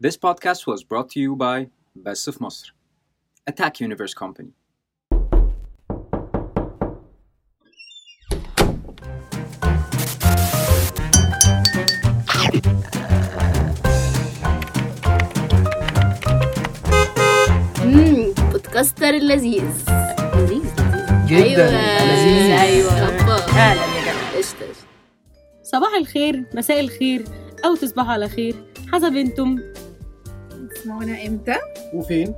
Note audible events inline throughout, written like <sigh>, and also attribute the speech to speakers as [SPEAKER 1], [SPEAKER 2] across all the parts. [SPEAKER 1] This podcast was brought to you by Best of Masr, Attack Universe Company.
[SPEAKER 2] امم بودكاستر اللذيذ لذيذ
[SPEAKER 3] جدا لذيذ.
[SPEAKER 2] ايوه
[SPEAKER 4] فعلا يا جماعه
[SPEAKER 2] قشطة قشطة.
[SPEAKER 5] صباح الخير مساء الخير او تصبحوا على خير حسب انتم
[SPEAKER 4] تسمعونا امتى
[SPEAKER 3] وفين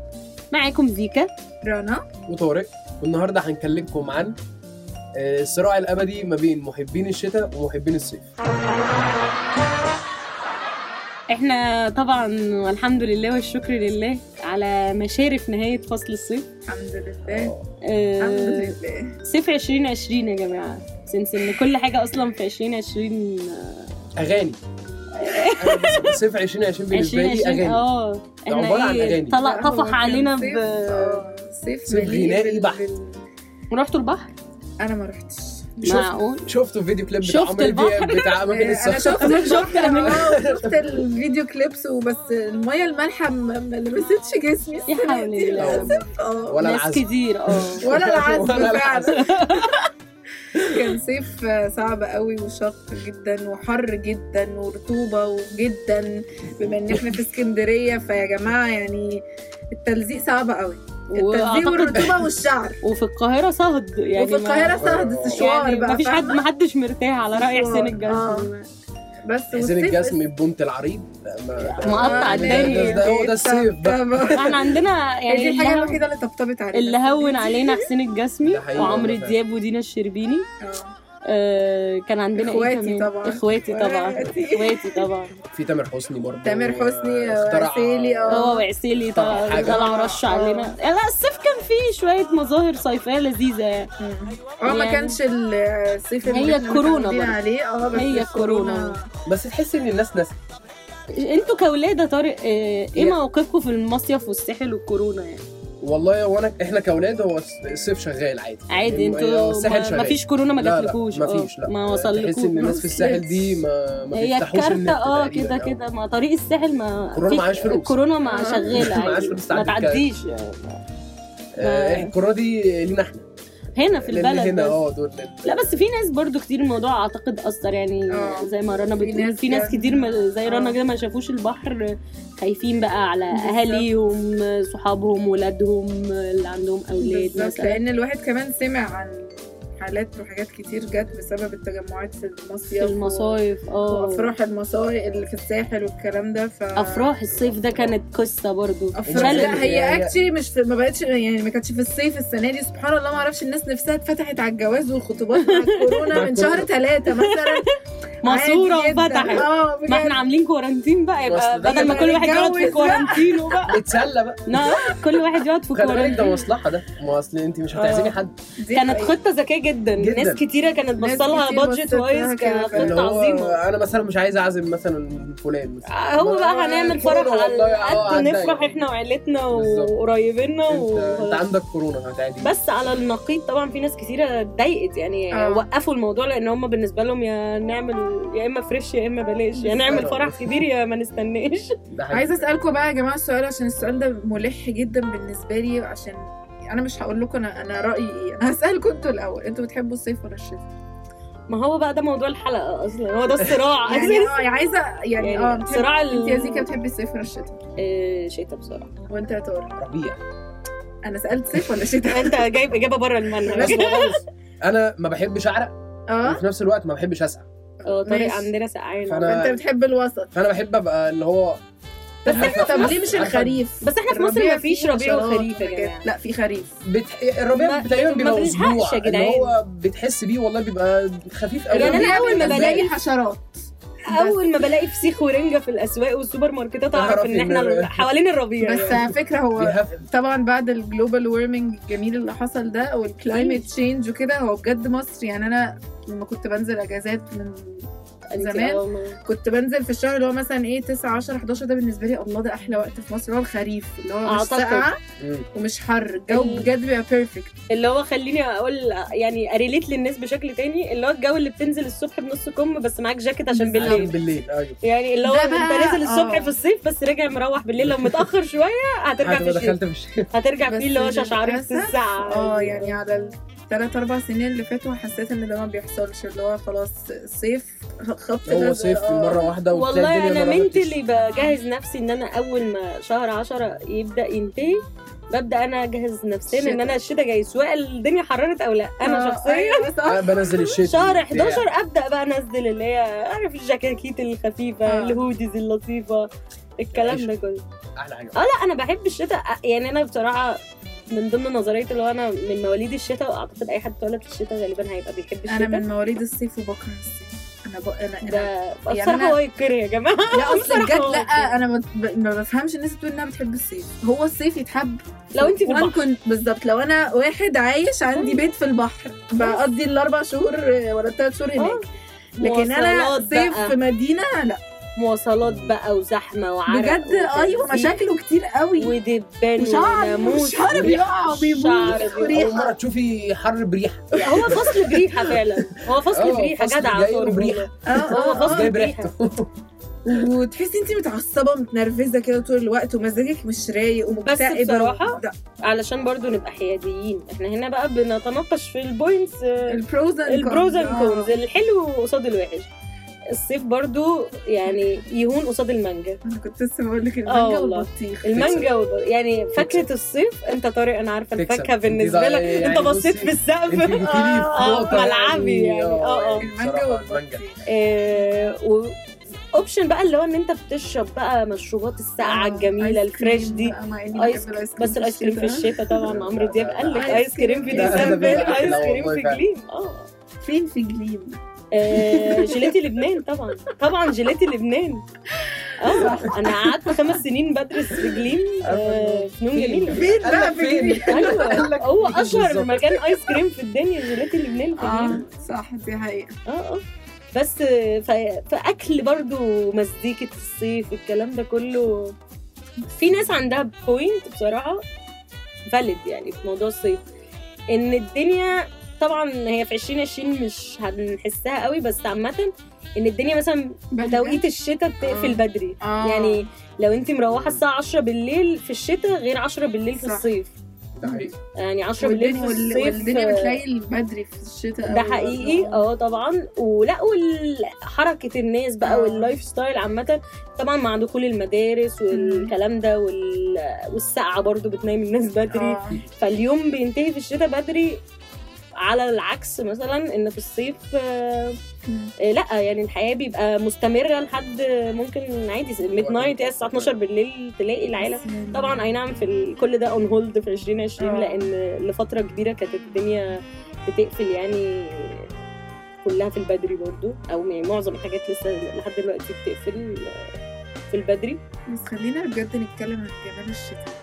[SPEAKER 5] معاكم زيكا
[SPEAKER 4] رنا
[SPEAKER 3] وطارق والنهارده هنكلمكم عن آه، الصراع الابدي ما بين محبين الشتاء ومحبين الصيف
[SPEAKER 5] احنا طبعا والحمد لله والشكر لله على مشارف نهايه فصل الصيف
[SPEAKER 4] الحمد لله الحمد
[SPEAKER 5] آه
[SPEAKER 4] لله
[SPEAKER 5] صيف 2020 يا جماعه سنس ان كل حاجه اصلا في 2020
[SPEAKER 3] اغاني أنا بس- صيف 2020 بالنسبه لي
[SPEAKER 5] 2020
[SPEAKER 3] اغاني
[SPEAKER 5] اه
[SPEAKER 3] عبارة عن
[SPEAKER 5] احنا ايه
[SPEAKER 3] أغاني.
[SPEAKER 5] طلق
[SPEAKER 4] لا، هو
[SPEAKER 5] طفح
[SPEAKER 4] كان
[SPEAKER 5] علينا ب
[SPEAKER 4] صيف- آه، صيف
[SPEAKER 3] صيف
[SPEAKER 4] مليء
[SPEAKER 3] غنائي
[SPEAKER 4] بال-
[SPEAKER 3] بحت.
[SPEAKER 4] بال-
[SPEAKER 5] رحتوا البحر
[SPEAKER 4] انا ما رحتش
[SPEAKER 3] شفت-
[SPEAKER 5] معقول
[SPEAKER 3] شفتوا الفيديو كليب بتاع
[SPEAKER 5] شفت
[SPEAKER 3] عمرو دياب بتاع اماكن
[SPEAKER 4] انا
[SPEAKER 3] السفر
[SPEAKER 4] شفت
[SPEAKER 5] شفت أماكن.
[SPEAKER 4] آه، شفت الفيديو كليبس وبس الميه المالحه ما ما لمستش جسمي
[SPEAKER 5] يا
[SPEAKER 4] السنة
[SPEAKER 5] حول
[SPEAKER 4] دي
[SPEAKER 5] الله
[SPEAKER 4] للأسف. آه،
[SPEAKER 3] ولا
[SPEAKER 5] ناس
[SPEAKER 3] العزم <laughs>
[SPEAKER 5] كتير اه
[SPEAKER 4] ولا العزم
[SPEAKER 3] ولا العزم.
[SPEAKER 4] فعلا <laughs> كان صيف صعب قوي وشق جدا وحر جدا ورطوبه وجدا بما ان احنا في اسكندريه فيا جماعه يعني التلزيق صعب قوي التلزيق
[SPEAKER 5] وأعتقد- <laughs>
[SPEAKER 4] والرطوبه والشعر
[SPEAKER 5] وفي القاهره صهد يعني
[SPEAKER 4] وفي القاهره صهد استشوار
[SPEAKER 5] يعني
[SPEAKER 4] بقى
[SPEAKER 5] مفيش حد
[SPEAKER 4] فاهمة؟ آه.
[SPEAKER 5] محدش مرتاح على راي
[SPEAKER 4] مشوار،
[SPEAKER 5] حسين الجسمي
[SPEAKER 4] بس
[SPEAKER 3] حسين
[SPEAKER 4] والصيف
[SPEAKER 3] الجسمي ببنت العريض لا، ما-
[SPEAKER 5] مقطع
[SPEAKER 4] آه،
[SPEAKER 5] الدنيا.
[SPEAKER 3] ده- ده- هو ده الصيف بقى
[SPEAKER 4] طب-
[SPEAKER 3] <laughs>
[SPEAKER 5] احنا عندنا يعني
[SPEAKER 4] دي الحاجه
[SPEAKER 5] اللي-
[SPEAKER 4] الوحيده اللي طبطبت علينا
[SPEAKER 5] اللي هون علينا حسين الجسمي
[SPEAKER 3] ده حقيقي
[SPEAKER 5] وعمرو
[SPEAKER 3] والله.
[SPEAKER 5] دياب ودينا الشربيني
[SPEAKER 4] آه.
[SPEAKER 5] آه كان عندنا
[SPEAKER 4] إخواتي
[SPEAKER 5] ايه كمان
[SPEAKER 4] طبعاً.
[SPEAKER 5] اخواتي طبعا
[SPEAKER 4] إخواتي.
[SPEAKER 5] اخواتي طبعا
[SPEAKER 3] في تامر حسني برضه
[SPEAKER 4] تامر حسني،
[SPEAKER 3] اخترع-
[SPEAKER 4] عسيلي، آه.
[SPEAKER 5] هو وعسيلي
[SPEAKER 3] طبعاً
[SPEAKER 5] طلع
[SPEAKER 3] حاجة.
[SPEAKER 5] طلع رش علينا لا الصيف كان فيه شويه مظاهر صيفيه لذيذه يعني
[SPEAKER 4] اه ما
[SPEAKER 5] يعني-
[SPEAKER 4] كانش الصيف اللي
[SPEAKER 5] هي
[SPEAKER 4] احنا
[SPEAKER 5] الكورونا
[SPEAKER 4] متعودين
[SPEAKER 5] برضه.
[SPEAKER 4] عليه اه بس
[SPEAKER 5] هي
[SPEAKER 4] الكورونا
[SPEAKER 3] بس تحس ان الناس ناس
[SPEAKER 5] انتوا كاولاد يا طارق آه، ايه
[SPEAKER 3] يا.
[SPEAKER 5] موقفكم في المصيف والساحل والكورونا يعني
[SPEAKER 3] والله وانا احنا كاولاد هو الصيف شغال عادي
[SPEAKER 5] عادي
[SPEAKER 3] يعني
[SPEAKER 5] انتوا
[SPEAKER 3] الساحل
[SPEAKER 5] ما
[SPEAKER 3] شغال.
[SPEAKER 5] فيش كورونا ما
[SPEAKER 3] لا لا،
[SPEAKER 5] جاتلكوش
[SPEAKER 3] مفيش،
[SPEAKER 5] اه،
[SPEAKER 3] لا. يعني
[SPEAKER 5] ما
[SPEAKER 3] تحس ان
[SPEAKER 5] وصلكوش
[SPEAKER 3] الناس في الساحل دي ما ما
[SPEAKER 5] هي
[SPEAKER 3] بيفتحوش
[SPEAKER 5] الكارتة
[SPEAKER 3] النت يعني.
[SPEAKER 5] اه
[SPEAKER 3] تقريباً، آه.
[SPEAKER 5] كده كده ما طريق الساحل ما
[SPEAKER 3] كورونا
[SPEAKER 5] في-
[SPEAKER 3] معهاش فلوس.
[SPEAKER 5] الكورونا ما
[SPEAKER 3] <laughs>
[SPEAKER 4] آه.
[SPEAKER 5] شغاله
[SPEAKER 3] معهاش
[SPEAKER 5] عادي،
[SPEAKER 3] فلوس
[SPEAKER 5] يعني ما
[SPEAKER 3] تعدي الكارت.
[SPEAKER 5] تعديش
[SPEAKER 3] آه،
[SPEAKER 5] ما-
[SPEAKER 3] الكورونا دي لينا احنا
[SPEAKER 5] هنا في
[SPEAKER 3] للي
[SPEAKER 5] البلد
[SPEAKER 3] هنا
[SPEAKER 5] بس.
[SPEAKER 3] اه دول
[SPEAKER 5] لا بس في ناس برضو كتير الموضوع اعتقد اثر يعني
[SPEAKER 4] آه.
[SPEAKER 5] زي ما رنا
[SPEAKER 4] في
[SPEAKER 5] بتقول
[SPEAKER 4] ناس
[SPEAKER 5] في ناس
[SPEAKER 3] يعني
[SPEAKER 4] كان-
[SPEAKER 5] كتير ما- زي رنا
[SPEAKER 4] آه.
[SPEAKER 5] كده ما شافوش البحر خايفين بقى على
[SPEAKER 4] بالظبط.
[SPEAKER 5] اهاليهم صحابهم ولادهم اللي عندهم اولاد
[SPEAKER 4] بالظبط
[SPEAKER 5] مثلا
[SPEAKER 4] لان الواحد كمان سمع عن حالات وحاجات كتير جت بسبب التجمعات في
[SPEAKER 5] في
[SPEAKER 4] المصيف
[SPEAKER 5] المصايف
[SPEAKER 4] و-
[SPEAKER 5] اه
[SPEAKER 4] وافراح المصايف اللي في الساحل والكلام ده ف
[SPEAKER 5] افراح الصيف ده كانت قصه برضو
[SPEAKER 4] افراح
[SPEAKER 3] شلل.
[SPEAKER 4] لا هي
[SPEAKER 3] هي- هي-
[SPEAKER 4] اكشلي مش في ما بقتش يعني ما كانتش في الصيف السنه دي سبحان الله ما اعرفش الناس نفسها اتفتحت على الجواز والخطوبات
[SPEAKER 5] <laughs>
[SPEAKER 4] مع الكورونا من شهر ثلاثه مثلا
[SPEAKER 5] ماسوره
[SPEAKER 4] عادي جدا.
[SPEAKER 5] وفتحت
[SPEAKER 4] اه
[SPEAKER 5] ما احنا
[SPEAKER 4] بجد
[SPEAKER 5] عاملين كورانتين بقى يبقى
[SPEAKER 3] بس ده
[SPEAKER 5] بدل ما
[SPEAKER 4] كده
[SPEAKER 5] كل واحد يقعد في
[SPEAKER 4] نتجوز
[SPEAKER 5] كورانتينه بقى
[SPEAKER 3] اتسلى بقى
[SPEAKER 5] لا كل واحد يقعد في
[SPEAKER 3] خلي بالك ده
[SPEAKER 5] كورانتين
[SPEAKER 3] مصلحه ده ما اصل انت مش هتعزمي
[SPEAKER 5] آه.
[SPEAKER 3] حد
[SPEAKER 4] دي
[SPEAKER 5] كانت
[SPEAKER 4] حقيقة.
[SPEAKER 5] خطه ذكيه جدا
[SPEAKER 3] جدا.
[SPEAKER 5] ناس كتيره كانت
[SPEAKER 4] ناس
[SPEAKER 5] بصلها
[SPEAKER 4] كتير
[SPEAKER 5] بادجت
[SPEAKER 4] بصت لها
[SPEAKER 5] وايز
[SPEAKER 4] كده فعلا.
[SPEAKER 3] اللي
[SPEAKER 5] كخطه
[SPEAKER 3] هو
[SPEAKER 5] عظيمه
[SPEAKER 3] انا مثلا مش عايز اعزم مثلا فلان مثلا
[SPEAKER 5] هو بقى هنعمل فرح
[SPEAKER 3] كورونا والله،
[SPEAKER 5] على
[SPEAKER 3] آه،
[SPEAKER 5] قد
[SPEAKER 3] عندها
[SPEAKER 5] نفرح
[SPEAKER 3] يعني.
[SPEAKER 5] احنا وعيلتنا
[SPEAKER 3] بالظبط.
[SPEAKER 5] وقرايبنا
[SPEAKER 3] انت, انت
[SPEAKER 5] و...
[SPEAKER 3] عندك كورونا هتعدي
[SPEAKER 5] بس على النقيض طبعا في ناس كتيره اتضايقت يعني
[SPEAKER 4] آه.
[SPEAKER 5] وقفوا الموضوع لان هم بالنسبه لهم يا نعمل يا اما فريش يا اما بلاش يا نعمل
[SPEAKER 3] بالظبط.
[SPEAKER 5] فرح كبير يا ما نستناش
[SPEAKER 3] ده حقيقي.
[SPEAKER 4] عايزه اسالكم بقى يا جماعه السؤال عشان السؤال ده ملح جدا بالنسبه لي عشان انا مش هقول لكم انا انا رايي ايه انا هسالكم انتوا الاول انتوا بتحبوا الصيف ولا الشتاء
[SPEAKER 5] ما هو بقى ده موضوع الحلقه اصلا هو ده الصراع
[SPEAKER 4] يعني
[SPEAKER 5] اساسا
[SPEAKER 4] اه عايزه يعني اه
[SPEAKER 5] يعني
[SPEAKER 4] بتحب-
[SPEAKER 5] صراع ال-
[SPEAKER 4] انت يا زيكا بتحبي الصيف ولا الشتاء
[SPEAKER 3] إيه،
[SPEAKER 5] آه، شتا بصراحه
[SPEAKER 4] وانت يا طارق
[SPEAKER 3] ربيع
[SPEAKER 5] <laughs>
[SPEAKER 4] انا سالت صيف ولا شتاء
[SPEAKER 5] انت جايب اجابه بره
[SPEAKER 3] بس
[SPEAKER 5] المنهج
[SPEAKER 3] خالص. انا ما بحبش اعرق
[SPEAKER 4] اه
[SPEAKER 5] آه.
[SPEAKER 3] وفي نفس الوقت ما بحبش اسقع
[SPEAKER 5] اه طارق
[SPEAKER 4] ماشي.
[SPEAKER 5] عندنا سقعان
[SPEAKER 3] فأنا-
[SPEAKER 4] فانت بتحب الوسط
[SPEAKER 3] فانا بحب ابقى اللي هو
[SPEAKER 4] طب طب ليه مش
[SPEAKER 3] عارفة-
[SPEAKER 4] الخريف
[SPEAKER 5] بس احنا في مصر
[SPEAKER 4] الربيع
[SPEAKER 5] مفيش
[SPEAKER 4] فيه
[SPEAKER 5] ربيع
[SPEAKER 4] حشرات
[SPEAKER 5] وخريف يا
[SPEAKER 4] وحاجات.
[SPEAKER 5] جماعه
[SPEAKER 4] لا في خريف
[SPEAKER 3] بتح... الربيع
[SPEAKER 5] ما-
[SPEAKER 3] تقريبا
[SPEAKER 5] ما
[SPEAKER 3] بيبقى
[SPEAKER 5] بنلحقش
[SPEAKER 3] اسبوع
[SPEAKER 5] يا
[SPEAKER 3] اللي
[SPEAKER 5] جدعان.
[SPEAKER 3] هو بتحس بيه والله بيبقى خفيف قوي
[SPEAKER 5] يعني أنا أول ما
[SPEAKER 4] بالنسبة لي
[SPEAKER 5] بلاقي-
[SPEAKER 4] حشرات
[SPEAKER 5] اول ما بلاقي فسيخ ورنجه في الاسواق والسوبر ماركتات اعرف
[SPEAKER 3] أعرف
[SPEAKER 5] ان
[SPEAKER 3] إن
[SPEAKER 5] احنا
[SPEAKER 3] ال-
[SPEAKER 5] حوالين الربيع
[SPEAKER 4] بس
[SPEAKER 5] يعني.
[SPEAKER 4] على فكره هو
[SPEAKER 3] بيهف-
[SPEAKER 4] طبعا بعد الجلوبال وورمنج الجميل اللي حصل ده والكلايمت تشينج وكده هو بجد مصر يعني انا لما كنت بنزل اجازات من زمان كنت بنزل في الشهر اللي هو مثلا ايه 9 10 11 ده بالنسبه لي الله ده احلى وقت في مصر اللي هو الخريف اللي هو مش
[SPEAKER 5] أعتقد.
[SPEAKER 4] ساقعه
[SPEAKER 3] مم.
[SPEAKER 4] ومش حر الجو
[SPEAKER 5] ال-
[SPEAKER 4] بجد بيبقى بيرفكت
[SPEAKER 5] اللي هو خليني اقول يعني اريليت للناس بشكل تاني اللي هو الجو اللي بتنزل الصبح بنص كم بس معاك جاكيت عشان
[SPEAKER 3] عشان
[SPEAKER 5] بالليل
[SPEAKER 3] بالليل ايوه
[SPEAKER 5] يعني اللي هو
[SPEAKER 4] ده بقى-
[SPEAKER 5] انت نازل الصبح
[SPEAKER 4] آه.
[SPEAKER 5] في الصيف بس راجع مروح بالليل لو متاخر شويه هترجع في
[SPEAKER 3] هتبقى
[SPEAKER 5] الشتاء
[SPEAKER 3] دخلت في الشتاء
[SPEAKER 5] هترجع
[SPEAKER 4] بس
[SPEAKER 5] فيه اللي هو شعرك في
[SPEAKER 4] للأسف،
[SPEAKER 5] الساعه
[SPEAKER 4] اه يعني على الثلاث اربع سنين اللي فاتوا حسيت ان ده ما بيحصلش اللي هو خلاص صيف خط
[SPEAKER 3] هو
[SPEAKER 4] الأزرق،
[SPEAKER 3] صيف
[SPEAKER 4] آه.
[SPEAKER 3] مره واحده وتلاقي
[SPEAKER 5] والله
[SPEAKER 3] الدنيا
[SPEAKER 5] انا
[SPEAKER 3] ما
[SPEAKER 5] منت
[SPEAKER 3] بدأتش.
[SPEAKER 5] اللي بجهز نفسي ان انا اول ما شهر عشرة يبدا ينتهي ببدا انا اجهز نفسيا ان
[SPEAKER 4] الشتاء.
[SPEAKER 5] انا الشتاء جاي سواء الدنيا حررت او لا انا
[SPEAKER 4] آه،
[SPEAKER 5] شخصيا
[SPEAKER 4] أيوة، صح.
[SPEAKER 3] أنا بنزل الشتاء
[SPEAKER 5] شهر
[SPEAKER 3] بتاع.
[SPEAKER 5] 11 ابدا بقى انزل اللي هي عارف الجاكيت الخفيفه
[SPEAKER 4] آه.
[SPEAKER 5] الهوديز اللطيفه الكلام ده كله
[SPEAKER 3] احلى حاجه
[SPEAKER 5] اه لا انا بحب الشتاء يعني انا بصراحه من ضمن نظريه اللي هو انا من مواليد الشتاء واعتقد اي حد اتولد في الشتاء غالبا هيبقى بيحب
[SPEAKER 4] انا
[SPEAKER 5] الشتاء
[SPEAKER 4] من مواليد الصيف وبكره الصيف انا ب... انا انا
[SPEAKER 5] ده
[SPEAKER 4] يعني
[SPEAKER 5] بصراحه
[SPEAKER 4] أنا-
[SPEAKER 5] هو يتكره يا جماعه
[SPEAKER 4] لا اصلا
[SPEAKER 5] بصراحة
[SPEAKER 4] بجد
[SPEAKER 5] هو
[SPEAKER 4] لا
[SPEAKER 5] كده.
[SPEAKER 4] انا ما ب- ما بفهمش الناس بتقول انها بتحب الصيف هو الصيف يتحب
[SPEAKER 5] لو انت في
[SPEAKER 4] وأنا
[SPEAKER 5] البحر
[SPEAKER 4] كنت بالظبط لو انا واحد عايش عندي بيت في البحر بقضي الاربع شهور آه، ولا الثلاث شهور هناك لكن انا
[SPEAKER 5] مواصلات
[SPEAKER 4] صيف
[SPEAKER 5] بقى.
[SPEAKER 4] في مدينه لا
[SPEAKER 5] مواصلات بقى وزحمه وعرق
[SPEAKER 4] بجد
[SPEAKER 3] أيوة،
[SPEAKER 4] ايوه
[SPEAKER 5] وتلزيق
[SPEAKER 4] مشاكله كتير قوي
[SPEAKER 5] ودبان
[SPEAKER 4] وشعر
[SPEAKER 5] وناموس
[SPEAKER 4] والشعر
[SPEAKER 5] وريحة.
[SPEAKER 4] بيقع وبيبوظ
[SPEAKER 5] الشعر
[SPEAKER 4] وريحة.
[SPEAKER 5] بيبوظ.
[SPEAKER 3] اول مره تشوفي حر بريحه
[SPEAKER 5] هو فصل بريحه فعلا هو فصل
[SPEAKER 3] آه،
[SPEAKER 5] بريحه
[SPEAKER 3] فصل
[SPEAKER 5] جدع
[SPEAKER 3] جاي له
[SPEAKER 5] طارق
[SPEAKER 3] بريحة.
[SPEAKER 5] والله.
[SPEAKER 4] اه
[SPEAKER 5] هو
[SPEAKER 4] اه
[SPEAKER 5] فصل
[SPEAKER 4] آه.
[SPEAKER 3] جايب <laughs>
[SPEAKER 5] بريحة.
[SPEAKER 3] ريحته
[SPEAKER 4] وتحسي انت متعصبه متنرفزه كده طول الوقت ومزاجك مش رايق ومكتئبه
[SPEAKER 5] بصراحة،
[SPEAKER 4] وده-
[SPEAKER 5] علشان برضو نبقى حياديين احنا هنا بقى بنتناقش في البوينتس
[SPEAKER 4] البروز and
[SPEAKER 5] البروز
[SPEAKER 4] cons.
[SPEAKER 5] اند
[SPEAKER 4] آه.
[SPEAKER 5] كونز الحلو قصاد الوحش الصيف برضو يعني يهون قصاد المانجا
[SPEAKER 4] انا كنت لسه بقول لك
[SPEAKER 5] آه
[SPEAKER 4] المانجا
[SPEAKER 5] والله.
[SPEAKER 4] والبطيخ
[SPEAKER 5] المانجا وب- يعني فاكهه الصيف انت طارق انا عارفه
[SPEAKER 3] تكسب.
[SPEAKER 5] الفاكهه
[SPEAKER 3] انت
[SPEAKER 5] بالنسبه
[SPEAKER 3] ده
[SPEAKER 5] لك
[SPEAKER 3] يعني
[SPEAKER 5] انت بصيت
[SPEAKER 3] بصي، انت
[SPEAKER 5] في السقف
[SPEAKER 3] جبتيلي في
[SPEAKER 5] آه،
[SPEAKER 3] نقطة
[SPEAKER 5] ملعبي يعني. آه، آه.
[SPEAKER 4] المانجا
[SPEAKER 3] بصراحة المانجا
[SPEAKER 4] والبطيخ
[SPEAKER 5] اوبشن آه، بقى اللي هو ان انت بتشرب بقى مشروبات
[SPEAKER 3] آه،
[SPEAKER 5] الساقعه
[SPEAKER 4] آه،
[SPEAKER 5] الجميله الفريش دي ايس بس الايس كريم في الشتاء
[SPEAKER 3] <laughs>
[SPEAKER 5] طبعا عمرو دياب قال لك
[SPEAKER 4] لا، لا.
[SPEAKER 5] ايس كريم في
[SPEAKER 4] ده- ده
[SPEAKER 5] ديسمبر
[SPEAKER 3] بيبقى
[SPEAKER 5] ايس
[SPEAKER 3] أحلى
[SPEAKER 5] كريم
[SPEAKER 3] والله
[SPEAKER 5] في
[SPEAKER 3] فعلا.
[SPEAKER 5] جليم اه
[SPEAKER 4] فين في جليم
[SPEAKER 5] آه، جيلاتي لبنان طبعا طبعا جيلاتي لبنان اه انا قعدت خمس سنين بدرس في جليم آه، فنون جميله
[SPEAKER 4] فين
[SPEAKER 3] قال
[SPEAKER 4] بقى
[SPEAKER 3] لك
[SPEAKER 4] في جليم
[SPEAKER 3] فين؟ قال
[SPEAKER 5] ايوه
[SPEAKER 3] لك
[SPEAKER 5] هو
[SPEAKER 3] فين
[SPEAKER 5] اشهر
[SPEAKER 3] بالظبط؟
[SPEAKER 5] مكان ايس كريم في الدنيا جيلاتي لبنان في جليم
[SPEAKER 4] اه صح دي حقيقة
[SPEAKER 5] اه اه بس آه، ف- فاكل برضو مزيكه الصيف الكلام ده كله في ناس عندها بوينت بصراحه فاليد يعني في موضوع الصيف ان الدنيا طبعا هي في 2020 مش هنحسها قوي بس عامه ان الدنيا مثلا توقيت الشتاء بتقفل
[SPEAKER 4] آه.
[SPEAKER 5] بدري
[SPEAKER 4] آه.
[SPEAKER 5] يعني لو انت مروحه الساعه 10 بالليل في الشتاء غير 10 بالليل في
[SPEAKER 4] صح.
[SPEAKER 5] الصيف
[SPEAKER 3] ده حقيقي
[SPEAKER 5] يعني 10 بالليل في
[SPEAKER 4] والدنيا وال-
[SPEAKER 5] الصيف
[SPEAKER 4] والدنيا
[SPEAKER 5] آه،
[SPEAKER 4] بتليل بدري في الشتاء
[SPEAKER 5] ده
[SPEAKER 4] أوي
[SPEAKER 5] حقيقي
[SPEAKER 4] برضه.
[SPEAKER 5] اه طبعا ولا وحركه الناس بقى
[SPEAKER 4] آه.
[SPEAKER 5] واللايف ستايل عامه طبعا مع دخول المدارس والكلام ده وال... والسقعه برضو بتنام الناس بدري
[SPEAKER 4] آه.
[SPEAKER 5] فاليوم بينتهي في الشتاء بدري على العكس مثلا ان في الصيف آه، آه، لا يعني الحياه بيبقى مستمره لحد ممكن عادي ميد نايت الساعه 12 بالليل تلاقي العيله
[SPEAKER 4] يعني
[SPEAKER 5] طبعا اي نعم في ال- كل ده اون هولد في 2020
[SPEAKER 4] آه.
[SPEAKER 5] لان لفتره كبيره كانت الدنيا بتقفل يعني كلها في البدري برضو او يعني معظم الحاجات لسه لحد دلوقتي بتقفل في البدري
[SPEAKER 4] بس خلينا بجد نتكلم عن جمال الشتاء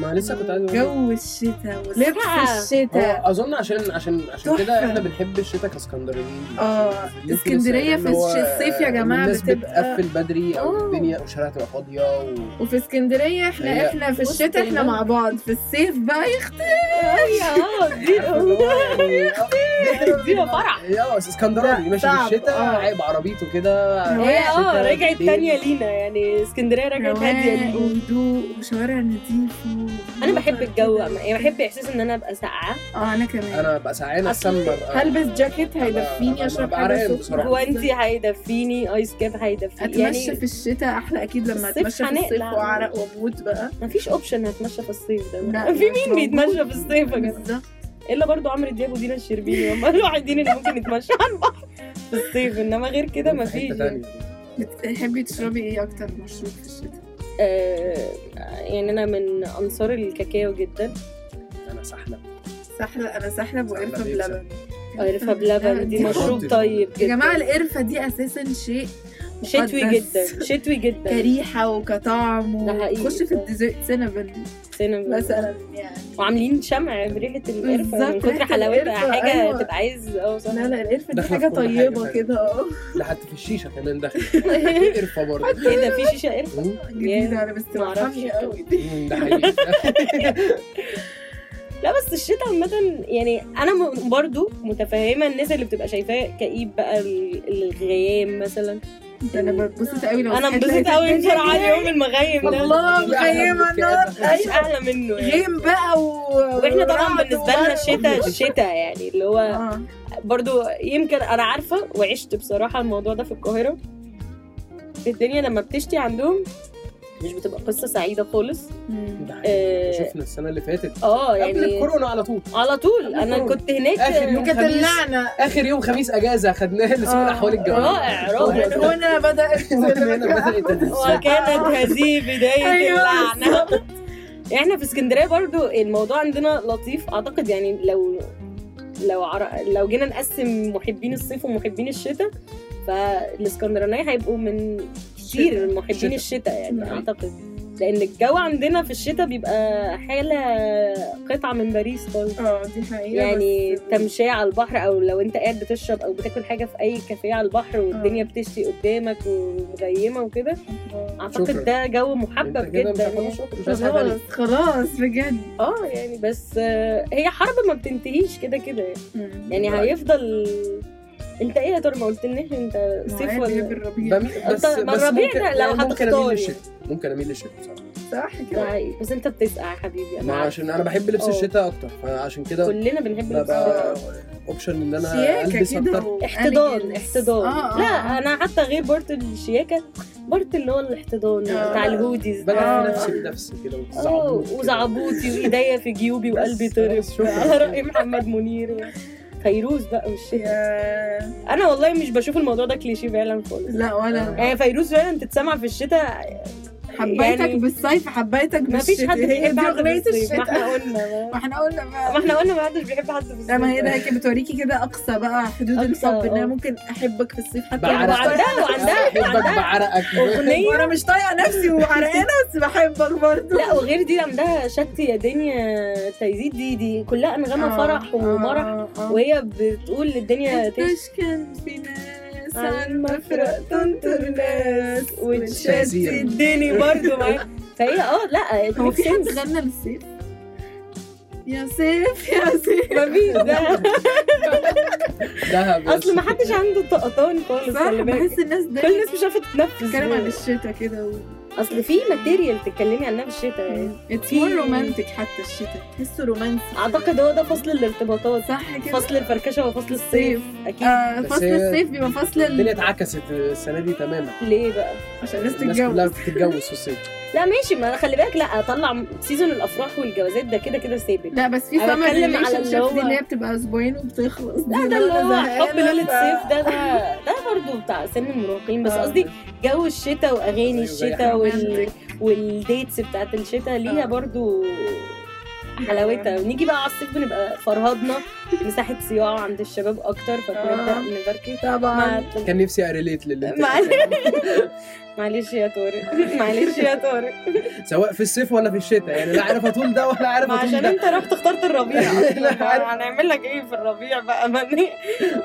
[SPEAKER 3] ما لسه كنت عايز أقول.
[SPEAKER 4] جو الشتاء
[SPEAKER 5] لأ.
[SPEAKER 4] ولبس الشتاء
[SPEAKER 3] هو اظن عشان عشان عشان
[SPEAKER 4] تحفة.
[SPEAKER 3] كده احنا بنحب الشتاء كاسكندرانيين
[SPEAKER 4] آه،
[SPEAKER 3] اللي انت لسه
[SPEAKER 4] اسكندرية في
[SPEAKER 3] قايلة اللي هو،
[SPEAKER 4] الش- الصيف يا
[SPEAKER 3] آه،
[SPEAKER 4] جماعة
[SPEAKER 3] الناس
[SPEAKER 4] بتبقى-
[SPEAKER 3] بتقفل بدري
[SPEAKER 5] آه.
[SPEAKER 3] او الدنيا وشارع تبقى فاضيه و...
[SPEAKER 4] وفي اسكندريه
[SPEAKER 3] هي-
[SPEAKER 4] احنا احنا في
[SPEAKER 5] وسط
[SPEAKER 4] الشتاء احنا
[SPEAKER 5] البلد.
[SPEAKER 4] مع بعض في الصيف بقى آه،
[SPEAKER 5] <laughs> اه دي
[SPEAKER 3] عارفة اللي هو يعني، آه،
[SPEAKER 5] دي فرح
[SPEAKER 3] يا بس اسكندراني
[SPEAKER 4] لا،
[SPEAKER 3] ماشي
[SPEAKER 4] صعب.
[SPEAKER 3] في الشتاء
[SPEAKER 4] آه.
[SPEAKER 3] عيب عربيته كده
[SPEAKER 5] هي اه
[SPEAKER 3] شتاء
[SPEAKER 5] رجعت
[SPEAKER 3] بالليل.
[SPEAKER 5] تانية لينا يعني اسكندريه رجعت هاديه
[SPEAKER 4] رواق
[SPEAKER 5] لينا
[SPEAKER 4] يعني. وهدوء وشوارع نظيفة
[SPEAKER 5] انا بحب الجو يعني بحب احساس ان انا ابقى ساقعه
[SPEAKER 4] اه انا كمان
[SPEAKER 3] انا بقى ساعان
[SPEAKER 5] أصل
[SPEAKER 3] احسن
[SPEAKER 4] هلبس جاكيت
[SPEAKER 3] أنا- أنا
[SPEAKER 4] هيدفيني اشرب
[SPEAKER 3] ببقى
[SPEAKER 4] حاجه
[SPEAKER 3] عرقان
[SPEAKER 4] سخنه
[SPEAKER 3] بصراحة.
[SPEAKER 5] جوانتي هيدفيني ايس كاب هيدفيني
[SPEAKER 4] اتمشى
[SPEAKER 5] يعني
[SPEAKER 4] في الشتاء احلى اكيد لما
[SPEAKER 5] الصيف
[SPEAKER 4] اتمشى في
[SPEAKER 5] هنقلع.
[SPEAKER 4] الصيف واعرق واموت بقى
[SPEAKER 5] مفيش اوبشن هتمشى في الصيف ده
[SPEAKER 4] لا، يعني
[SPEAKER 5] في
[SPEAKER 4] مش
[SPEAKER 5] مين بيتمشى
[SPEAKER 4] موجود.
[SPEAKER 5] في الصيف يا جماعه
[SPEAKER 4] بالظبط
[SPEAKER 5] الا برضو عمرو دياب ودينا الشربيني هم الوحيدين اللي ممكن يتمشى على البحر في الصيف انما غير كده
[SPEAKER 3] في
[SPEAKER 5] مفيش
[SPEAKER 3] حته
[SPEAKER 5] يعني.
[SPEAKER 3] تانية
[SPEAKER 4] بتحبي تشربي ايه اكتر مشروب في الشتاء؟
[SPEAKER 5] آه يعني انا من انصار الكاكاو جدا
[SPEAKER 3] انا سحلب
[SPEAKER 4] سحلة انا سحلب وقرفة
[SPEAKER 3] سحلب إيه؟
[SPEAKER 4] بلبن
[SPEAKER 5] قرفه بلبن دي
[SPEAKER 4] دي
[SPEAKER 5] مشروب
[SPEAKER 3] خطر.
[SPEAKER 5] طيب
[SPEAKER 4] آه، <laughs> يا
[SPEAKER 5] جدا
[SPEAKER 4] جماعة القرفة دي اساسا شيء
[SPEAKER 5] شتوي
[SPEAKER 4] مقدس.
[SPEAKER 5] جدا شتوي جدا
[SPEAKER 4] كريحه وكطعم
[SPEAKER 5] ده حقيقي.
[SPEAKER 4] وخش في الديزرت سينابن
[SPEAKER 5] سينما.
[SPEAKER 4] مثلا يعني
[SPEAKER 5] وعاملين شمع بريحه القرفه من
[SPEAKER 4] بالظبط،
[SPEAKER 5] كتر
[SPEAKER 4] ريحة
[SPEAKER 5] حلاوتها
[SPEAKER 4] القرفة،
[SPEAKER 5] حاجه
[SPEAKER 4] أيوة.
[SPEAKER 5] تبقى عايز اه صح
[SPEAKER 4] لا لا القرفه دي
[SPEAKER 3] داخلة
[SPEAKER 4] حاجه
[SPEAKER 3] في كل حاجة طيب.
[SPEAKER 4] طيبه
[SPEAKER 3] فعلا.
[SPEAKER 4] كده اه
[SPEAKER 3] ده حتى في الشيشه كمان
[SPEAKER 5] <laughs>
[SPEAKER 3] داخل قرفه برضه
[SPEAKER 5] ايه ده في شيشه قرفه
[SPEAKER 3] مم.
[SPEAKER 4] اه، جديده انا بس
[SPEAKER 5] معرفش.
[SPEAKER 4] ترحمني قوي دي
[SPEAKER 3] مم، ده
[SPEAKER 5] <laughs>
[SPEAKER 3] حقيقي <laughs>
[SPEAKER 5] لا بس الشتاء عامة يعني أنا م- برضو متفهمة الناس اللي بتبقى شايفاه كئيب بقى ال- الغيام مثلا
[SPEAKER 4] ده انا بتبسط قوي لو
[SPEAKER 5] أنا
[SPEAKER 4] صحيت
[SPEAKER 5] انبسطت
[SPEAKER 4] لقيت
[SPEAKER 5] قوي
[SPEAKER 4] الدنيا
[SPEAKER 5] بسرعة يوم المغيم ده
[SPEAKER 4] الله مغيمه النار
[SPEAKER 5] مفيش أحلى منه يعني
[SPEAKER 4] غيم بقى و...
[SPEAKER 5] واحنا طبعا
[SPEAKER 4] ورعد
[SPEAKER 5] بالنسبة لنا
[SPEAKER 4] وبرد.
[SPEAKER 5] الشتاء الشتاء يعني اللي هو
[SPEAKER 4] آه.
[SPEAKER 5] برضو يمكن أنا عارفة وعشت بصراحة الموضوع ده في القاهرة الدنيا لما بتشتي عندهم مش بتبقى قصة سعيدة خالص
[SPEAKER 4] مم.
[SPEAKER 3] ده حقيقي.
[SPEAKER 5] اه
[SPEAKER 3] شفنا السنه اللي فاتت
[SPEAKER 5] آه،
[SPEAKER 3] قبل
[SPEAKER 5] يعني
[SPEAKER 3] الكورونا على طول
[SPEAKER 5] على طول أنا
[SPEAKER 3] الكورونا.
[SPEAKER 5] كنت هناك
[SPEAKER 3] آخر يوم
[SPEAKER 4] كانت
[SPEAKER 3] خميس.
[SPEAKER 4] اللعنه
[SPEAKER 3] اخر يوم خميس اجازه خدناها <laughs> لسوق
[SPEAKER 4] آه.
[SPEAKER 3] الاحوال الجويه
[SPEAKER 5] رائع
[SPEAKER 3] <laughs>
[SPEAKER 5] رائع
[SPEAKER 4] من هنا بدات
[SPEAKER 3] هنا بدأت السنة.
[SPEAKER 5] وكانت هذه بداية
[SPEAKER 4] أيوة
[SPEAKER 5] اللعنة احنا في اسكندرية برضو الموضوع عندنا لطيف اعتقد يعني لو لو عر... لو جينا نقسم محبين الصيف ومحبين الشتاء فالاسكندرانية هيبقوا من كتير من محبين
[SPEAKER 3] شتاء.
[SPEAKER 5] الشتاء يعني
[SPEAKER 3] نعم.
[SPEAKER 5] اعتقد لان الجو عندنا في الشتاء بيبقى حالة قطعة من باريس خالص
[SPEAKER 4] اه دي حقيقه
[SPEAKER 5] يعني
[SPEAKER 4] بس-
[SPEAKER 5] تمشية على البحر او لو انت قاعد بتشرب او بتاكل حاجة في اي كافيه على البحر
[SPEAKER 3] آه.
[SPEAKER 5] والدنيا بتشتي قدامك ومغيمة وكده
[SPEAKER 3] شكراً.
[SPEAKER 5] اعتقد ده جو
[SPEAKER 3] انت
[SPEAKER 5] محبب
[SPEAKER 3] كده مش
[SPEAKER 5] جدا
[SPEAKER 3] عارفة
[SPEAKER 5] يعني.
[SPEAKER 3] تشرب، مش عارفة تعمل
[SPEAKER 4] خلاص خلاص بجد
[SPEAKER 5] اه يعني بس آه، هي حرب ما بتنتهيش كده كده يعني. يعني
[SPEAKER 3] بالعكس.
[SPEAKER 5] هيفضل انت ايه يا ترى ما قلتلنيش انت صيف
[SPEAKER 4] صيف
[SPEAKER 5] ولا
[SPEAKER 4] بالربيع
[SPEAKER 3] بميل- بس
[SPEAKER 5] طب ما
[SPEAKER 3] بس
[SPEAKER 5] الربيع
[SPEAKER 3] ممكن-
[SPEAKER 5] ده لو
[SPEAKER 3] يعني ممكن اميل
[SPEAKER 5] هتختار
[SPEAKER 3] للشتاء ممكن اميل للشتاء بصراحه
[SPEAKER 4] صح
[SPEAKER 5] ده
[SPEAKER 4] كده
[SPEAKER 5] حقيقي. طيب، بس انت بتسقع يا حبيبي انا
[SPEAKER 3] ما
[SPEAKER 5] عارفة.
[SPEAKER 3] عشان انا بحب لبس
[SPEAKER 5] أه.
[SPEAKER 3] الشتاء اكتر فعشان كده
[SPEAKER 5] كلنا بنحب لبس الشتاء.
[SPEAKER 3] ببقى اوبشن ان انا
[SPEAKER 4] شياكه
[SPEAKER 3] البس
[SPEAKER 4] كده
[SPEAKER 3] اكتر
[SPEAKER 4] و-
[SPEAKER 5] احتضان
[SPEAKER 4] elegance.
[SPEAKER 5] احتضان
[SPEAKER 4] آه، آه،
[SPEAKER 5] لا
[SPEAKER 4] آه.
[SPEAKER 5] انا حتى غير بارت الشياكه بارت اللي هو الاحتضان
[SPEAKER 4] آه.
[SPEAKER 5] بتاع الهوديز ده.
[SPEAKER 3] بدأ
[SPEAKER 4] آه.
[SPEAKER 3] نفسي بنفسي كده
[SPEAKER 5] اه
[SPEAKER 3] وزعبوط كده.
[SPEAKER 5] وزعبوطي وايديا في جيوبي
[SPEAKER 3] بس
[SPEAKER 5] وقلبي
[SPEAKER 3] خلاص،
[SPEAKER 5] طرب
[SPEAKER 3] شكراً.
[SPEAKER 5] <laughs> على راي محمد منير فيروز بقى والشتاء
[SPEAKER 4] يا-
[SPEAKER 5] انا والله مش بشوف الموضوع ده كليشيه فعلا خالص
[SPEAKER 4] لا ولا
[SPEAKER 5] يعني فيروز فعلا تتسمع في الشتاء
[SPEAKER 4] حبيتك
[SPEAKER 5] يعني-
[SPEAKER 4] بالصيف حبيتك
[SPEAKER 5] ما
[SPEAKER 4] بالشتاء
[SPEAKER 5] فيش حد
[SPEAKER 4] هي
[SPEAKER 5] بيحب
[SPEAKER 4] دي
[SPEAKER 5] حد
[SPEAKER 4] اغنيه
[SPEAKER 5] في الصيف ما
[SPEAKER 4] الشتاء
[SPEAKER 5] <laughs> احنا قلنا
[SPEAKER 4] ما
[SPEAKER 5] ما- ما احنا
[SPEAKER 4] احنا قلنا بقى
[SPEAKER 5] قلنا ما حدش بيحب حد في
[SPEAKER 4] لا ما هي
[SPEAKER 5] الصيف
[SPEAKER 4] ده كانت بتوريكي كده اقصى بقى حدود
[SPEAKER 5] أقصى،
[SPEAKER 4] الحب ان
[SPEAKER 5] آه.
[SPEAKER 4] انا ممكن احبك في الصيف حتى
[SPEAKER 3] بعرق.
[SPEAKER 4] وأنا مش
[SPEAKER 5] وعندها
[SPEAKER 4] طايقة-
[SPEAKER 5] وعندها
[SPEAKER 3] <laughs> بحبك
[SPEAKER 5] وعندها
[SPEAKER 3] بعرقك
[SPEAKER 5] اغنيه
[SPEAKER 4] وانا مش طايقه نفسي
[SPEAKER 5] <laughs>
[SPEAKER 4] وعرقانه بس بحبك برضه
[SPEAKER 5] لا وغير دي عندها شت يا دنيا تيزيد دي دي كلها
[SPEAKER 4] آه،
[SPEAKER 5] انغامها فرح ومرح وهي بتقول للدنيا تشت
[SPEAKER 4] ايش كان آه. في ناس
[SPEAKER 5] عن
[SPEAKER 4] عن
[SPEAKER 5] مفرق
[SPEAKER 4] مفرق تنطر ناس
[SPEAKER 5] وتشت
[SPEAKER 3] تأثير.
[SPEAKER 5] الدنيا برضه معاها. فهي اه لا it
[SPEAKER 4] هو
[SPEAKER 5] makes
[SPEAKER 4] في حد
[SPEAKER 5] <laughs> sense.
[SPEAKER 4] غنى للسيف؟ يا سيف يا سيف
[SPEAKER 3] <laughs>
[SPEAKER 5] مفيش ده
[SPEAKER 3] دهب
[SPEAKER 5] اصل ما حدش عنده طقطان خالص
[SPEAKER 4] صح
[SPEAKER 5] خلي بالك
[SPEAKER 4] بحس الناس
[SPEAKER 5] كل
[SPEAKER 4] دايما
[SPEAKER 5] الناس مش عارفه تتنفس
[SPEAKER 4] بتتكلم عن الشتاء كده و...
[SPEAKER 5] اصل في ماتيريال تتكلمي عنها في الشتاء يعني
[SPEAKER 4] اتس
[SPEAKER 5] في-
[SPEAKER 4] مور رومانتك حتى الشتاء تحسه رومانسي
[SPEAKER 5] اعتقد هو ده فصل الارتباطات
[SPEAKER 4] صح كده
[SPEAKER 5] فصل الفركشه وفصل الصيف
[SPEAKER 4] صيف
[SPEAKER 5] اكيد
[SPEAKER 4] آه
[SPEAKER 3] بس
[SPEAKER 4] فصل
[SPEAKER 3] هي-
[SPEAKER 4] الصيف بيبقى فصل
[SPEAKER 3] الدنيا
[SPEAKER 4] ال...
[SPEAKER 3] اتعكست السنه دي تماما
[SPEAKER 5] ليه بقى
[SPEAKER 4] عشان الناس
[SPEAKER 3] الناس كلها
[SPEAKER 4] تتجوز
[SPEAKER 3] بتتجوز في الصيف
[SPEAKER 5] لا ماشي ما أنا خلي بالك لا اطلع سيزون الافراح والجوازات ده كده كده ثابت
[SPEAKER 4] لا بس في
[SPEAKER 5] أنا
[SPEAKER 4] سمر
[SPEAKER 5] بتكلم على
[SPEAKER 4] ريليشن
[SPEAKER 5] اللي
[SPEAKER 4] شيب
[SPEAKER 5] هو-
[SPEAKER 4] دي اللي هي بتبقى اسبوعين وبتخلص
[SPEAKER 5] لا ده اللي هو حب ليله صيف ده ده ده برضه بتاع سن المراهقين بس
[SPEAKER 4] آه.
[SPEAKER 5] قصدي جو الشتاء واغاني
[SPEAKER 3] أيوة، زي
[SPEAKER 5] الشتاء وال...
[SPEAKER 4] رومانتك.
[SPEAKER 5] والديتس بتاعت الشتاء ليها
[SPEAKER 4] آه. <laughs>
[SPEAKER 5] برضو حلاوتها ونيجي بقى على الصيف بنبقى فرهضنا مساحه صياعه عند الشباب اكتر فبنبدا
[SPEAKER 4] آه.
[SPEAKER 5] نبركي
[SPEAKER 4] طبعا
[SPEAKER 5] مع-
[SPEAKER 3] كان نفسي اريليت للي انت
[SPEAKER 5] معلش.
[SPEAKER 3] بتتكلم.
[SPEAKER 5] معلش يا
[SPEAKER 4] <laughs>
[SPEAKER 5] طارق معلش يا طارق
[SPEAKER 3] سواء في الصيف ولا في الشتاء يعني لا عارف اطول ده ولا عارف
[SPEAKER 5] ما
[SPEAKER 3] اطول
[SPEAKER 5] عشان
[SPEAKER 3] ده
[SPEAKER 5] انت رحت اخترت
[SPEAKER 4] <laughs>
[SPEAKER 5] الربيع
[SPEAKER 3] لا، عارف.
[SPEAKER 5] ما هنعمل لك ايه في الربيع بقى ما,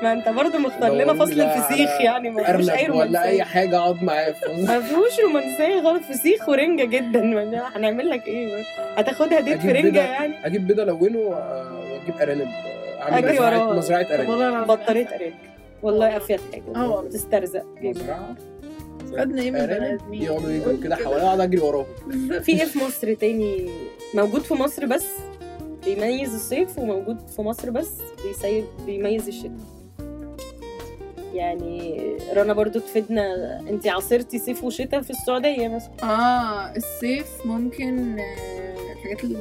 [SPEAKER 5] ما انت برضو مختار لنا
[SPEAKER 3] لو
[SPEAKER 5] فصل
[SPEAKER 3] قلنا
[SPEAKER 5] الفسيخ
[SPEAKER 3] على
[SPEAKER 5] يعني ما فيهوش اي
[SPEAKER 3] ارنب ولا اي
[SPEAKER 5] رومانسيه
[SPEAKER 3] حاجه اقعد معاه
[SPEAKER 5] <laughs>
[SPEAKER 3] في-
[SPEAKER 5] ما فيهوش رومانسيه غير فسيخ ورنجه جدا يعني هنعمل لك ايه هتاخدها ديت في
[SPEAKER 3] أجيب
[SPEAKER 5] رنجه
[SPEAKER 3] بيضة.
[SPEAKER 5] يعني
[SPEAKER 3] اجيب بيضه الونه آه، واجيب ارانب آه، اعمل
[SPEAKER 5] أجري
[SPEAKER 3] مزرعه
[SPEAKER 5] وراه.
[SPEAKER 3] مزرعه ارانب
[SPEAKER 4] والله العظيم
[SPEAKER 5] بطاريه اريك والله افيد حاجه
[SPEAKER 4] آه.
[SPEAKER 5] بتسترزق
[SPEAKER 3] مزرعه
[SPEAKER 4] خدنا ايه من
[SPEAKER 3] أرانب.
[SPEAKER 4] بني ادمين
[SPEAKER 3] يقعدوا يجروا كده حواليا اقعد اجري وراهم
[SPEAKER 5] في ايه في مصر تاني موجود في مصر بس بيميز الصيف وموجود في مصر بس بيسيب بيميز الشتاء يعني رنا برضو تفيدنا انت عاصرتي صيف وشتاء في السعوديه مثلا
[SPEAKER 4] اه الصيف ممكن آه، الحاجات اللي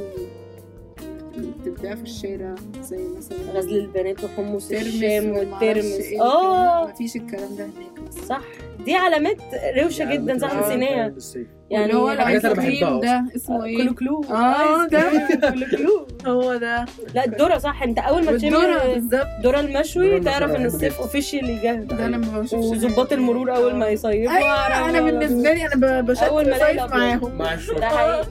[SPEAKER 4] اللي بتبدأ في الشارع زي مثلا
[SPEAKER 5] غزل البنات وحمص
[SPEAKER 4] ترمس
[SPEAKER 5] الشام
[SPEAKER 4] ومعرفش
[SPEAKER 5] والترمس
[SPEAKER 4] إيه والكلام ده.
[SPEAKER 5] اه
[SPEAKER 4] مفيش الكلام ده هناك
[SPEAKER 5] صح دي علامات روشه جدا زحمه
[SPEAKER 4] آه،
[SPEAKER 5] سينيه يعني
[SPEAKER 4] اللي هو
[SPEAKER 5] حاجات
[SPEAKER 3] الحاجات اللي
[SPEAKER 4] الايس
[SPEAKER 5] كتير.
[SPEAKER 3] بحبها
[SPEAKER 4] كريم
[SPEAKER 3] أصلاً.
[SPEAKER 4] ده اسمه ايه؟
[SPEAKER 5] كلو كلو
[SPEAKER 4] آه،
[SPEAKER 5] آيس
[SPEAKER 4] ده.
[SPEAKER 5] كريم، كلو
[SPEAKER 4] <laughs>
[SPEAKER 5] كلو
[SPEAKER 4] هو ده
[SPEAKER 5] لا الذره صح انت اول ما تشم
[SPEAKER 4] والدورة بالظبط
[SPEAKER 5] الذره
[SPEAKER 3] الذرة
[SPEAKER 5] المشوي
[SPEAKER 3] المشوي
[SPEAKER 5] تعرف ان
[SPEAKER 3] بحبه
[SPEAKER 5] الصيف
[SPEAKER 3] جداً.
[SPEAKER 5] اوفيشيالي جاهز
[SPEAKER 4] ده لما بمشي في الشارع.
[SPEAKER 5] وظباط المرور اول ما يصيفوا
[SPEAKER 4] ايوه انا بالنسبه لي انا ب-
[SPEAKER 5] أول ما
[SPEAKER 4] بشتي
[SPEAKER 5] ألاقي
[SPEAKER 4] صيف
[SPEAKER 5] الأبيض.
[SPEAKER 4] معاهم
[SPEAKER 3] مع الشرطة
[SPEAKER 5] ده حقيقي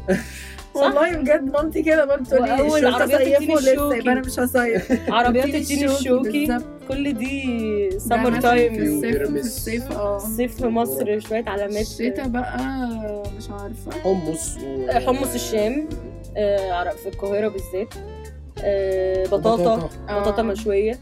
[SPEAKER 4] والله بجد مامتي كده برضه تقول لي
[SPEAKER 5] وأول
[SPEAKER 4] الشرطه
[SPEAKER 5] عربيات التين
[SPEAKER 4] صيفوا لسه
[SPEAKER 5] الشوكي.
[SPEAKER 4] يبقى انا مش هصيف
[SPEAKER 5] <laughs>
[SPEAKER 4] <laughs>
[SPEAKER 5] عربيات
[SPEAKER 4] التين
[SPEAKER 5] التين
[SPEAKER 4] الشوكي
[SPEAKER 5] الشوكي
[SPEAKER 4] بالظبط.
[SPEAKER 5] كل دي
[SPEAKER 4] ده
[SPEAKER 5] سمر
[SPEAKER 4] مثلا في
[SPEAKER 5] تايم
[SPEAKER 4] الصيف في
[SPEAKER 3] وبيراميدز.
[SPEAKER 4] الصيف اه
[SPEAKER 5] الصيف في مصر شويه علامات
[SPEAKER 4] الشتا بقى مش عارفه
[SPEAKER 3] حمص و...
[SPEAKER 5] حمص الشام. آه، عرق في القاهره بالذات آه، بطاطا
[SPEAKER 4] آه.
[SPEAKER 5] بطاطا مشويه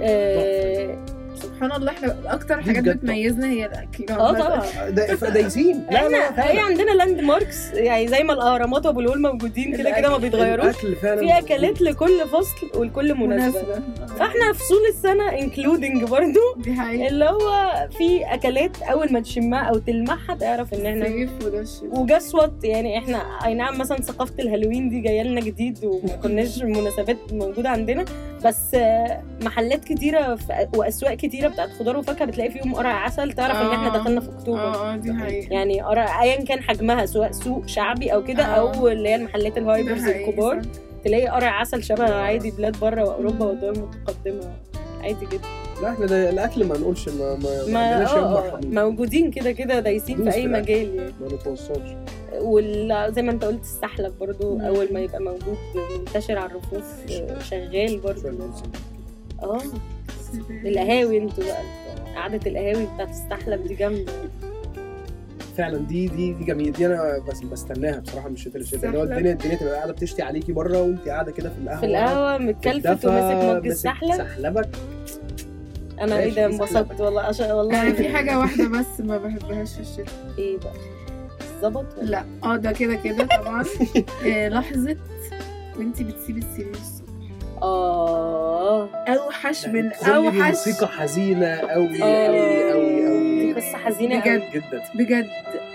[SPEAKER 5] اه
[SPEAKER 4] سبحان الله احنا اكتر حاجات
[SPEAKER 3] بجد.
[SPEAKER 4] بتميزنا هي الاكل
[SPEAKER 5] آه، طبعا
[SPEAKER 3] دا- فدايسين لا لا
[SPEAKER 5] احنا هي
[SPEAKER 3] فعلا.
[SPEAKER 5] عندنا لاند ماركس يعني زي ما الاهرامات وابو الهول موجودين كده كده ما بيتغيروش
[SPEAKER 3] الاكل فعلا
[SPEAKER 5] في اكلات لكل فصل ولكل مناسبه
[SPEAKER 4] مناسبه
[SPEAKER 5] فاحنا فصول السنه انكلودنج برضو
[SPEAKER 4] آه. دي حقيقة
[SPEAKER 5] اللي هو في اكلات اول ما تشمها او تلمحها تعرف ان احنا
[SPEAKER 4] الصيف وده الشتا
[SPEAKER 5] وجسوت يعني احنا اي نعم مثلا ثقافه الهالوين دي جايه لنا جديد وما كناش مناسبات موجوده عندنا بس آه، محلات كتيره في- واسواق كتيره بتاعت خضار وفاكهه بتلاقي فيهم قرع عسل تعرف ان احنا
[SPEAKER 4] آه.
[SPEAKER 5] دخلنا في اكتوبر
[SPEAKER 4] اه اه دي حقيقة
[SPEAKER 5] يعني قرع ايا كان حجمها سواء سوق شعبي او كده
[SPEAKER 4] آه.
[SPEAKER 5] او اللي هي المحلات
[SPEAKER 4] ده
[SPEAKER 5] الهايبرز
[SPEAKER 4] حقيقي،
[SPEAKER 5] الكبار
[SPEAKER 4] صح. آه.
[SPEAKER 5] تلاقي قرع عسل شبه عادي بلاد بره واوروبا ودول متقدمه عادي جدا
[SPEAKER 3] لا احنا ده الاكل ما نقولش ما ما
[SPEAKER 5] ما
[SPEAKER 4] يعني
[SPEAKER 3] عندناش يوم
[SPEAKER 5] آه، آه،
[SPEAKER 3] برحمة.
[SPEAKER 5] موجودين كده كده دايسين
[SPEAKER 3] دوس
[SPEAKER 5] في اي
[SPEAKER 3] في الأكل.
[SPEAKER 5] مجال يعني
[SPEAKER 3] ما نتوصلش
[SPEAKER 5] وزي ما انت قلت السحلب برضو
[SPEAKER 4] مم.
[SPEAKER 5] اول ما يبقى موجود منتشر على الرفوف آه، شغال برضو اه القهاوي انتوا بقى قعدة القهاوي بتاعت السحلب دي جامدة
[SPEAKER 3] فعلا دي دي دي جميله دي انا بس بستناها بصراحه من الشتاء للشتاء اللي هو
[SPEAKER 4] سحلب.
[SPEAKER 3] الدنيا الدنيا تبقى قاعده بتشتي عليكي بره وانت قاعده كده في القهوه
[SPEAKER 5] في القهوة متكلفت
[SPEAKER 3] بتدفى،
[SPEAKER 5] وماسك مج
[SPEAKER 3] ماسك
[SPEAKER 5] السحلب
[SPEAKER 3] سحلبك
[SPEAKER 5] انا ايه ده
[SPEAKER 3] ماشي،
[SPEAKER 5] انبسطت
[SPEAKER 3] سحلبك.
[SPEAKER 5] والله أش... والله
[SPEAKER 4] <laughs> انا يعني في حاجة واحدة بس ما بحبهاش في الشتا
[SPEAKER 5] ايه بقى ظبط ولا
[SPEAKER 4] لا اه ده كده كده
[SPEAKER 5] <laughs>
[SPEAKER 4] طبعا آه، لحظة وانتي بتسيبي السرير الصبح
[SPEAKER 5] اه
[SPEAKER 4] اوحش من
[SPEAKER 3] تدخلي دي
[SPEAKER 4] اوحش
[SPEAKER 3] موسيقى حزينه قوي
[SPEAKER 5] آه.
[SPEAKER 3] قوي قوي
[SPEAKER 5] دي
[SPEAKER 3] قوي
[SPEAKER 5] قصة حزينة
[SPEAKER 4] بجد.
[SPEAKER 5] قوي.
[SPEAKER 3] جدا
[SPEAKER 4] بجد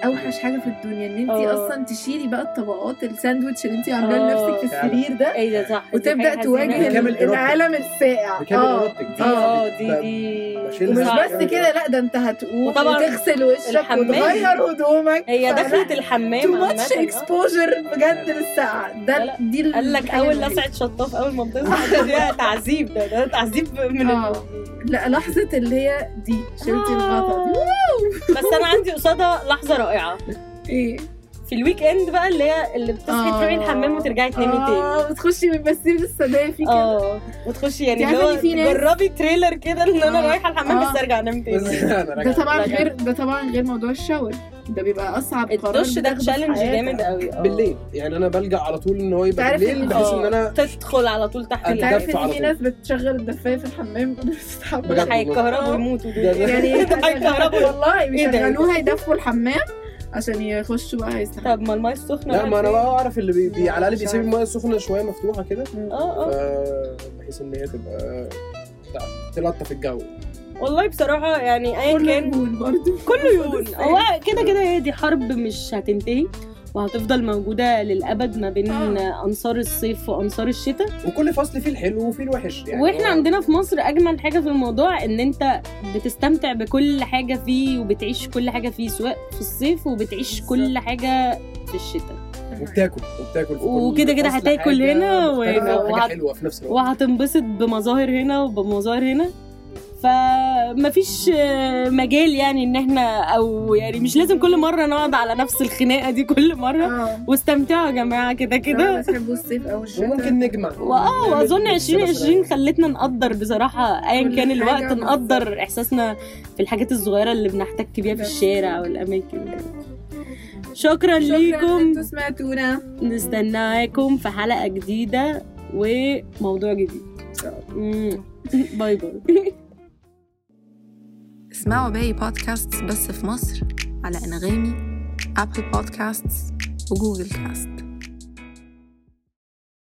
[SPEAKER 4] اوحش حاجه في الدنيا ان انت
[SPEAKER 5] آه.
[SPEAKER 4] اصلا تشيلي بقى الطبقات الساندوتش اللي انت عاملاه
[SPEAKER 5] آه.
[SPEAKER 4] لنفسك في السرير ده
[SPEAKER 5] ايه ده صح دي حاجة
[SPEAKER 4] وتبدا
[SPEAKER 5] حزينة
[SPEAKER 4] تواجه
[SPEAKER 5] قوي.
[SPEAKER 3] بكامل
[SPEAKER 4] ال-
[SPEAKER 3] إرادتك.
[SPEAKER 4] العالم الساقع
[SPEAKER 3] بكامل
[SPEAKER 4] اه
[SPEAKER 3] ارادتك
[SPEAKER 5] دي اه دي دي
[SPEAKER 3] بشيل
[SPEAKER 4] ومش
[SPEAKER 5] صعب.
[SPEAKER 3] بكامل
[SPEAKER 4] بس كده لا ده انت هتقوم
[SPEAKER 5] وطبعاً
[SPEAKER 4] وتغسل وشك
[SPEAKER 5] الحمام.
[SPEAKER 4] وتغير هدومك
[SPEAKER 5] هي دخلت الحمام
[SPEAKER 4] تو
[SPEAKER 5] عامة.
[SPEAKER 4] ماتش اكسبوجر بجد للساقع
[SPEAKER 5] أيوة، لا،
[SPEAKER 4] ده
[SPEAKER 5] لا.
[SPEAKER 4] دي ال-
[SPEAKER 5] قال لك
[SPEAKER 4] الحاجة
[SPEAKER 5] اول
[SPEAKER 4] الوحيدة.
[SPEAKER 5] لسعه شطاف اول ما بتصحى ده-
[SPEAKER 4] <laughs>
[SPEAKER 5] ده تعذيب ده ده تعذيب من ال...
[SPEAKER 4] آه. لا لحظه اللي هي دي
[SPEAKER 5] آه.
[SPEAKER 4] شلتي الغطا دي
[SPEAKER 5] بس انا عندي قصادها لحظه رائعه
[SPEAKER 4] ايه
[SPEAKER 5] في الويك اند بقى اللي هي اللي بتصحي
[SPEAKER 4] آه.
[SPEAKER 5] تروحي الحمام وترجعي تنامي تاني
[SPEAKER 4] اه بتخشي من بسيب السدافي كده
[SPEAKER 5] اه وتخشي يعني
[SPEAKER 4] أنت
[SPEAKER 5] اللي هو
[SPEAKER 4] عارفة إن في ناس-
[SPEAKER 5] جربي تريلر كده ان انا
[SPEAKER 4] آه.
[SPEAKER 5] رايحه الحمام
[SPEAKER 4] آه.
[SPEAKER 5] بس ارجع انام تاني
[SPEAKER 4] ده طبعا
[SPEAKER 5] رجع.
[SPEAKER 4] غير ده طبعا غير موضوع الشاور ده بيبقى اصعب قرار
[SPEAKER 5] الدش ده
[SPEAKER 4] بتاخده في
[SPEAKER 5] تشالنج
[SPEAKER 4] حياتك.
[SPEAKER 5] جامد قوي آه.
[SPEAKER 3] بالليل يعني انا بلجأ على طول ان هو يبقى
[SPEAKER 4] تعرف
[SPEAKER 3] بالليل
[SPEAKER 4] إن-
[SPEAKER 3] بحيث
[SPEAKER 5] آه.
[SPEAKER 3] ان انا
[SPEAKER 5] تدخل على طول تحت
[SPEAKER 4] انت عارف
[SPEAKER 3] الدفع
[SPEAKER 4] ان
[SPEAKER 3] على
[SPEAKER 4] في
[SPEAKER 3] طول.
[SPEAKER 4] ناس بتشغل الدفايه في الحمام <laughs> بتستحمل
[SPEAKER 3] بجد والله.
[SPEAKER 5] هيتكهربوا ويموتوا دول
[SPEAKER 3] ده- ده-
[SPEAKER 4] آه.
[SPEAKER 5] <laughs>
[SPEAKER 4] يعني
[SPEAKER 5] هيتكهربوا
[SPEAKER 4] <laughs> والله
[SPEAKER 5] إيه ده؟
[SPEAKER 4] بيشغلوها يدفوا الحمام عشان يخشوا بقى يستحملوا
[SPEAKER 5] طب ما المايه السخنه
[SPEAKER 3] لا ما انا بقى اعرف اللي بي... بي... على الاقل
[SPEAKER 4] مش
[SPEAKER 5] آه.
[SPEAKER 3] بيسيب
[SPEAKER 4] عارف.
[SPEAKER 3] المايه السخنه شويه مفتوحه كده
[SPEAKER 5] اه اه
[SPEAKER 3] ف- بحيث ان هي تبقى تع- تلطف الجو
[SPEAKER 5] والله بصراحه يعني ايا
[SPEAKER 4] كله
[SPEAKER 5] كان
[SPEAKER 4] يهون برضه
[SPEAKER 5] كله
[SPEAKER 4] <laughs>
[SPEAKER 5] يهون
[SPEAKER 4] السنة.
[SPEAKER 5] هو كده كده هي دي حرب مش هتنتهي وهتفضل موجودة للأبد ما بين
[SPEAKER 4] آه.
[SPEAKER 5] أنصار الصيف وأنصار الشتاء
[SPEAKER 3] وكل فصل فيه الحلو وفيه الوحش يعني
[SPEAKER 5] وإحنا
[SPEAKER 3] هو-
[SPEAKER 5] عندنا في مصر أجمل حاجة في الموضوع إن أنت بتستمتع بكل حاجة فيه وبتعيش كل حاجة فيه سواء في الصيف وبتعيش كل حاجة في الشتاء
[SPEAKER 4] أيوة.
[SPEAKER 3] وبتاكل وبتاكل في كل
[SPEAKER 5] وكده كده
[SPEAKER 3] فصل
[SPEAKER 5] هتاكل
[SPEAKER 3] حاجة
[SPEAKER 5] هنا و-
[SPEAKER 3] مختلفة وحاجة
[SPEAKER 5] وهت-
[SPEAKER 3] حلوه في نفس الوقت
[SPEAKER 5] وهتنبسط بمظاهر هنا وبمظاهر هنا فمفيش آه، مجال يعني ان احنا او يعني مش لازم كل مره نقعد على نفس الخناقه دي كل مره
[SPEAKER 4] اه
[SPEAKER 5] واستمتعوا يا جماعه كده
[SPEAKER 4] كده
[SPEAKER 5] كده
[SPEAKER 4] بتحبوا الصيف او الشتاء
[SPEAKER 3] وممكن نجمع
[SPEAKER 5] واه واظن
[SPEAKER 3] نعمل ميكس مثلاً.
[SPEAKER 5] 2020 خلتنا نقدر بصراحه ايا
[SPEAKER 4] كل
[SPEAKER 5] كان
[SPEAKER 4] حاجة
[SPEAKER 5] الوقت
[SPEAKER 4] بالظبط.
[SPEAKER 5] نقدر احساسنا في الحاجات الصغيره اللي بنحتك بيها في
[SPEAKER 4] بالظبط.
[SPEAKER 5] الشارع والاماكن شكرا
[SPEAKER 4] شكراً إن
[SPEAKER 5] ليكم
[SPEAKER 4] انتوا سمعتونا
[SPEAKER 5] نستناكم في حلقه جديده وموضوع جديد مم. <laughs> باي باي
[SPEAKER 6] اسمعوا باقي بودكاستس بس في مصر على انغامي ابل بودكاستس وجوجل كاست